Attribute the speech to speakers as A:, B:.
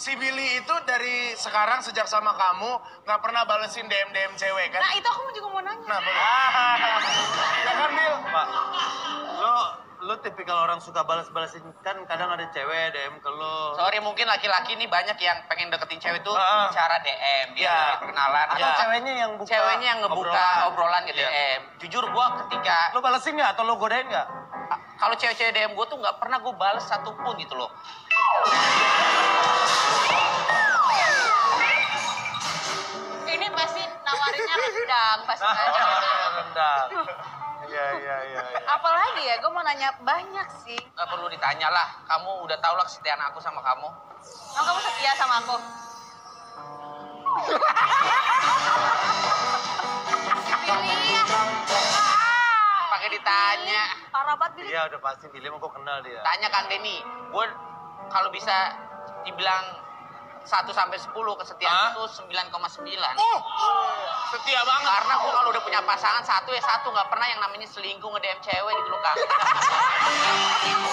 A: si Billy itu dari sekarang sejak sama kamu nggak pernah balesin DM DM cewek kan?
B: Nah itu aku juga mau nanya.
A: Nah, boleh. ya kan Bil?
C: Pak, lu lu tipikal orang suka balas-balasin kan kadang ada cewek DM ke lu.
D: Sorry mungkin laki-laki nih banyak yang pengen deketin cewek tuh
A: Heeh.
D: cara DM, ya,
A: Iya.
D: perkenalan.
C: Ah. Atau
D: Iya.
C: ceweknya yang buka
D: ceweknya yang ngebuka
C: obrolan. Iya.
D: obrolan, ke DM. Jujur gua ketika
C: Lu balesin nggak atau lu godain nggak?
D: a- kalau cewek-cewek DM gua tuh nggak pernah gua bales satupun gitu loh.
B: Ini pasti nawarinnya rendang pasti
C: Nah,
B: aja.
C: Rendang.
A: Iya iya iya. iya.
B: Apalagi ya, gue mau nanya banyak sih.
D: Nggak perlu ditanya lah. Kamu udah tau lah kesetiaan aku sama kamu.
B: Emang kamu setia sama aku? Pilih ya. Ah,
D: Pakai ditanya.
B: Billy. Parah banget Billy.
C: Iya udah pasti Billy mah gua kenal
A: Iya.
C: dia.
D: Tanya Kang Denny. Gua kalau bisa dibilang 1 sampai 10
A: Hah?
D: kesetiaan itu 9,9.
A: Uh, setia banget.
D: Karena gue kalau udah punya pasangan satu ya satu nggak pernah yang namanya selingkuh nge DM cewek gitu loh kak.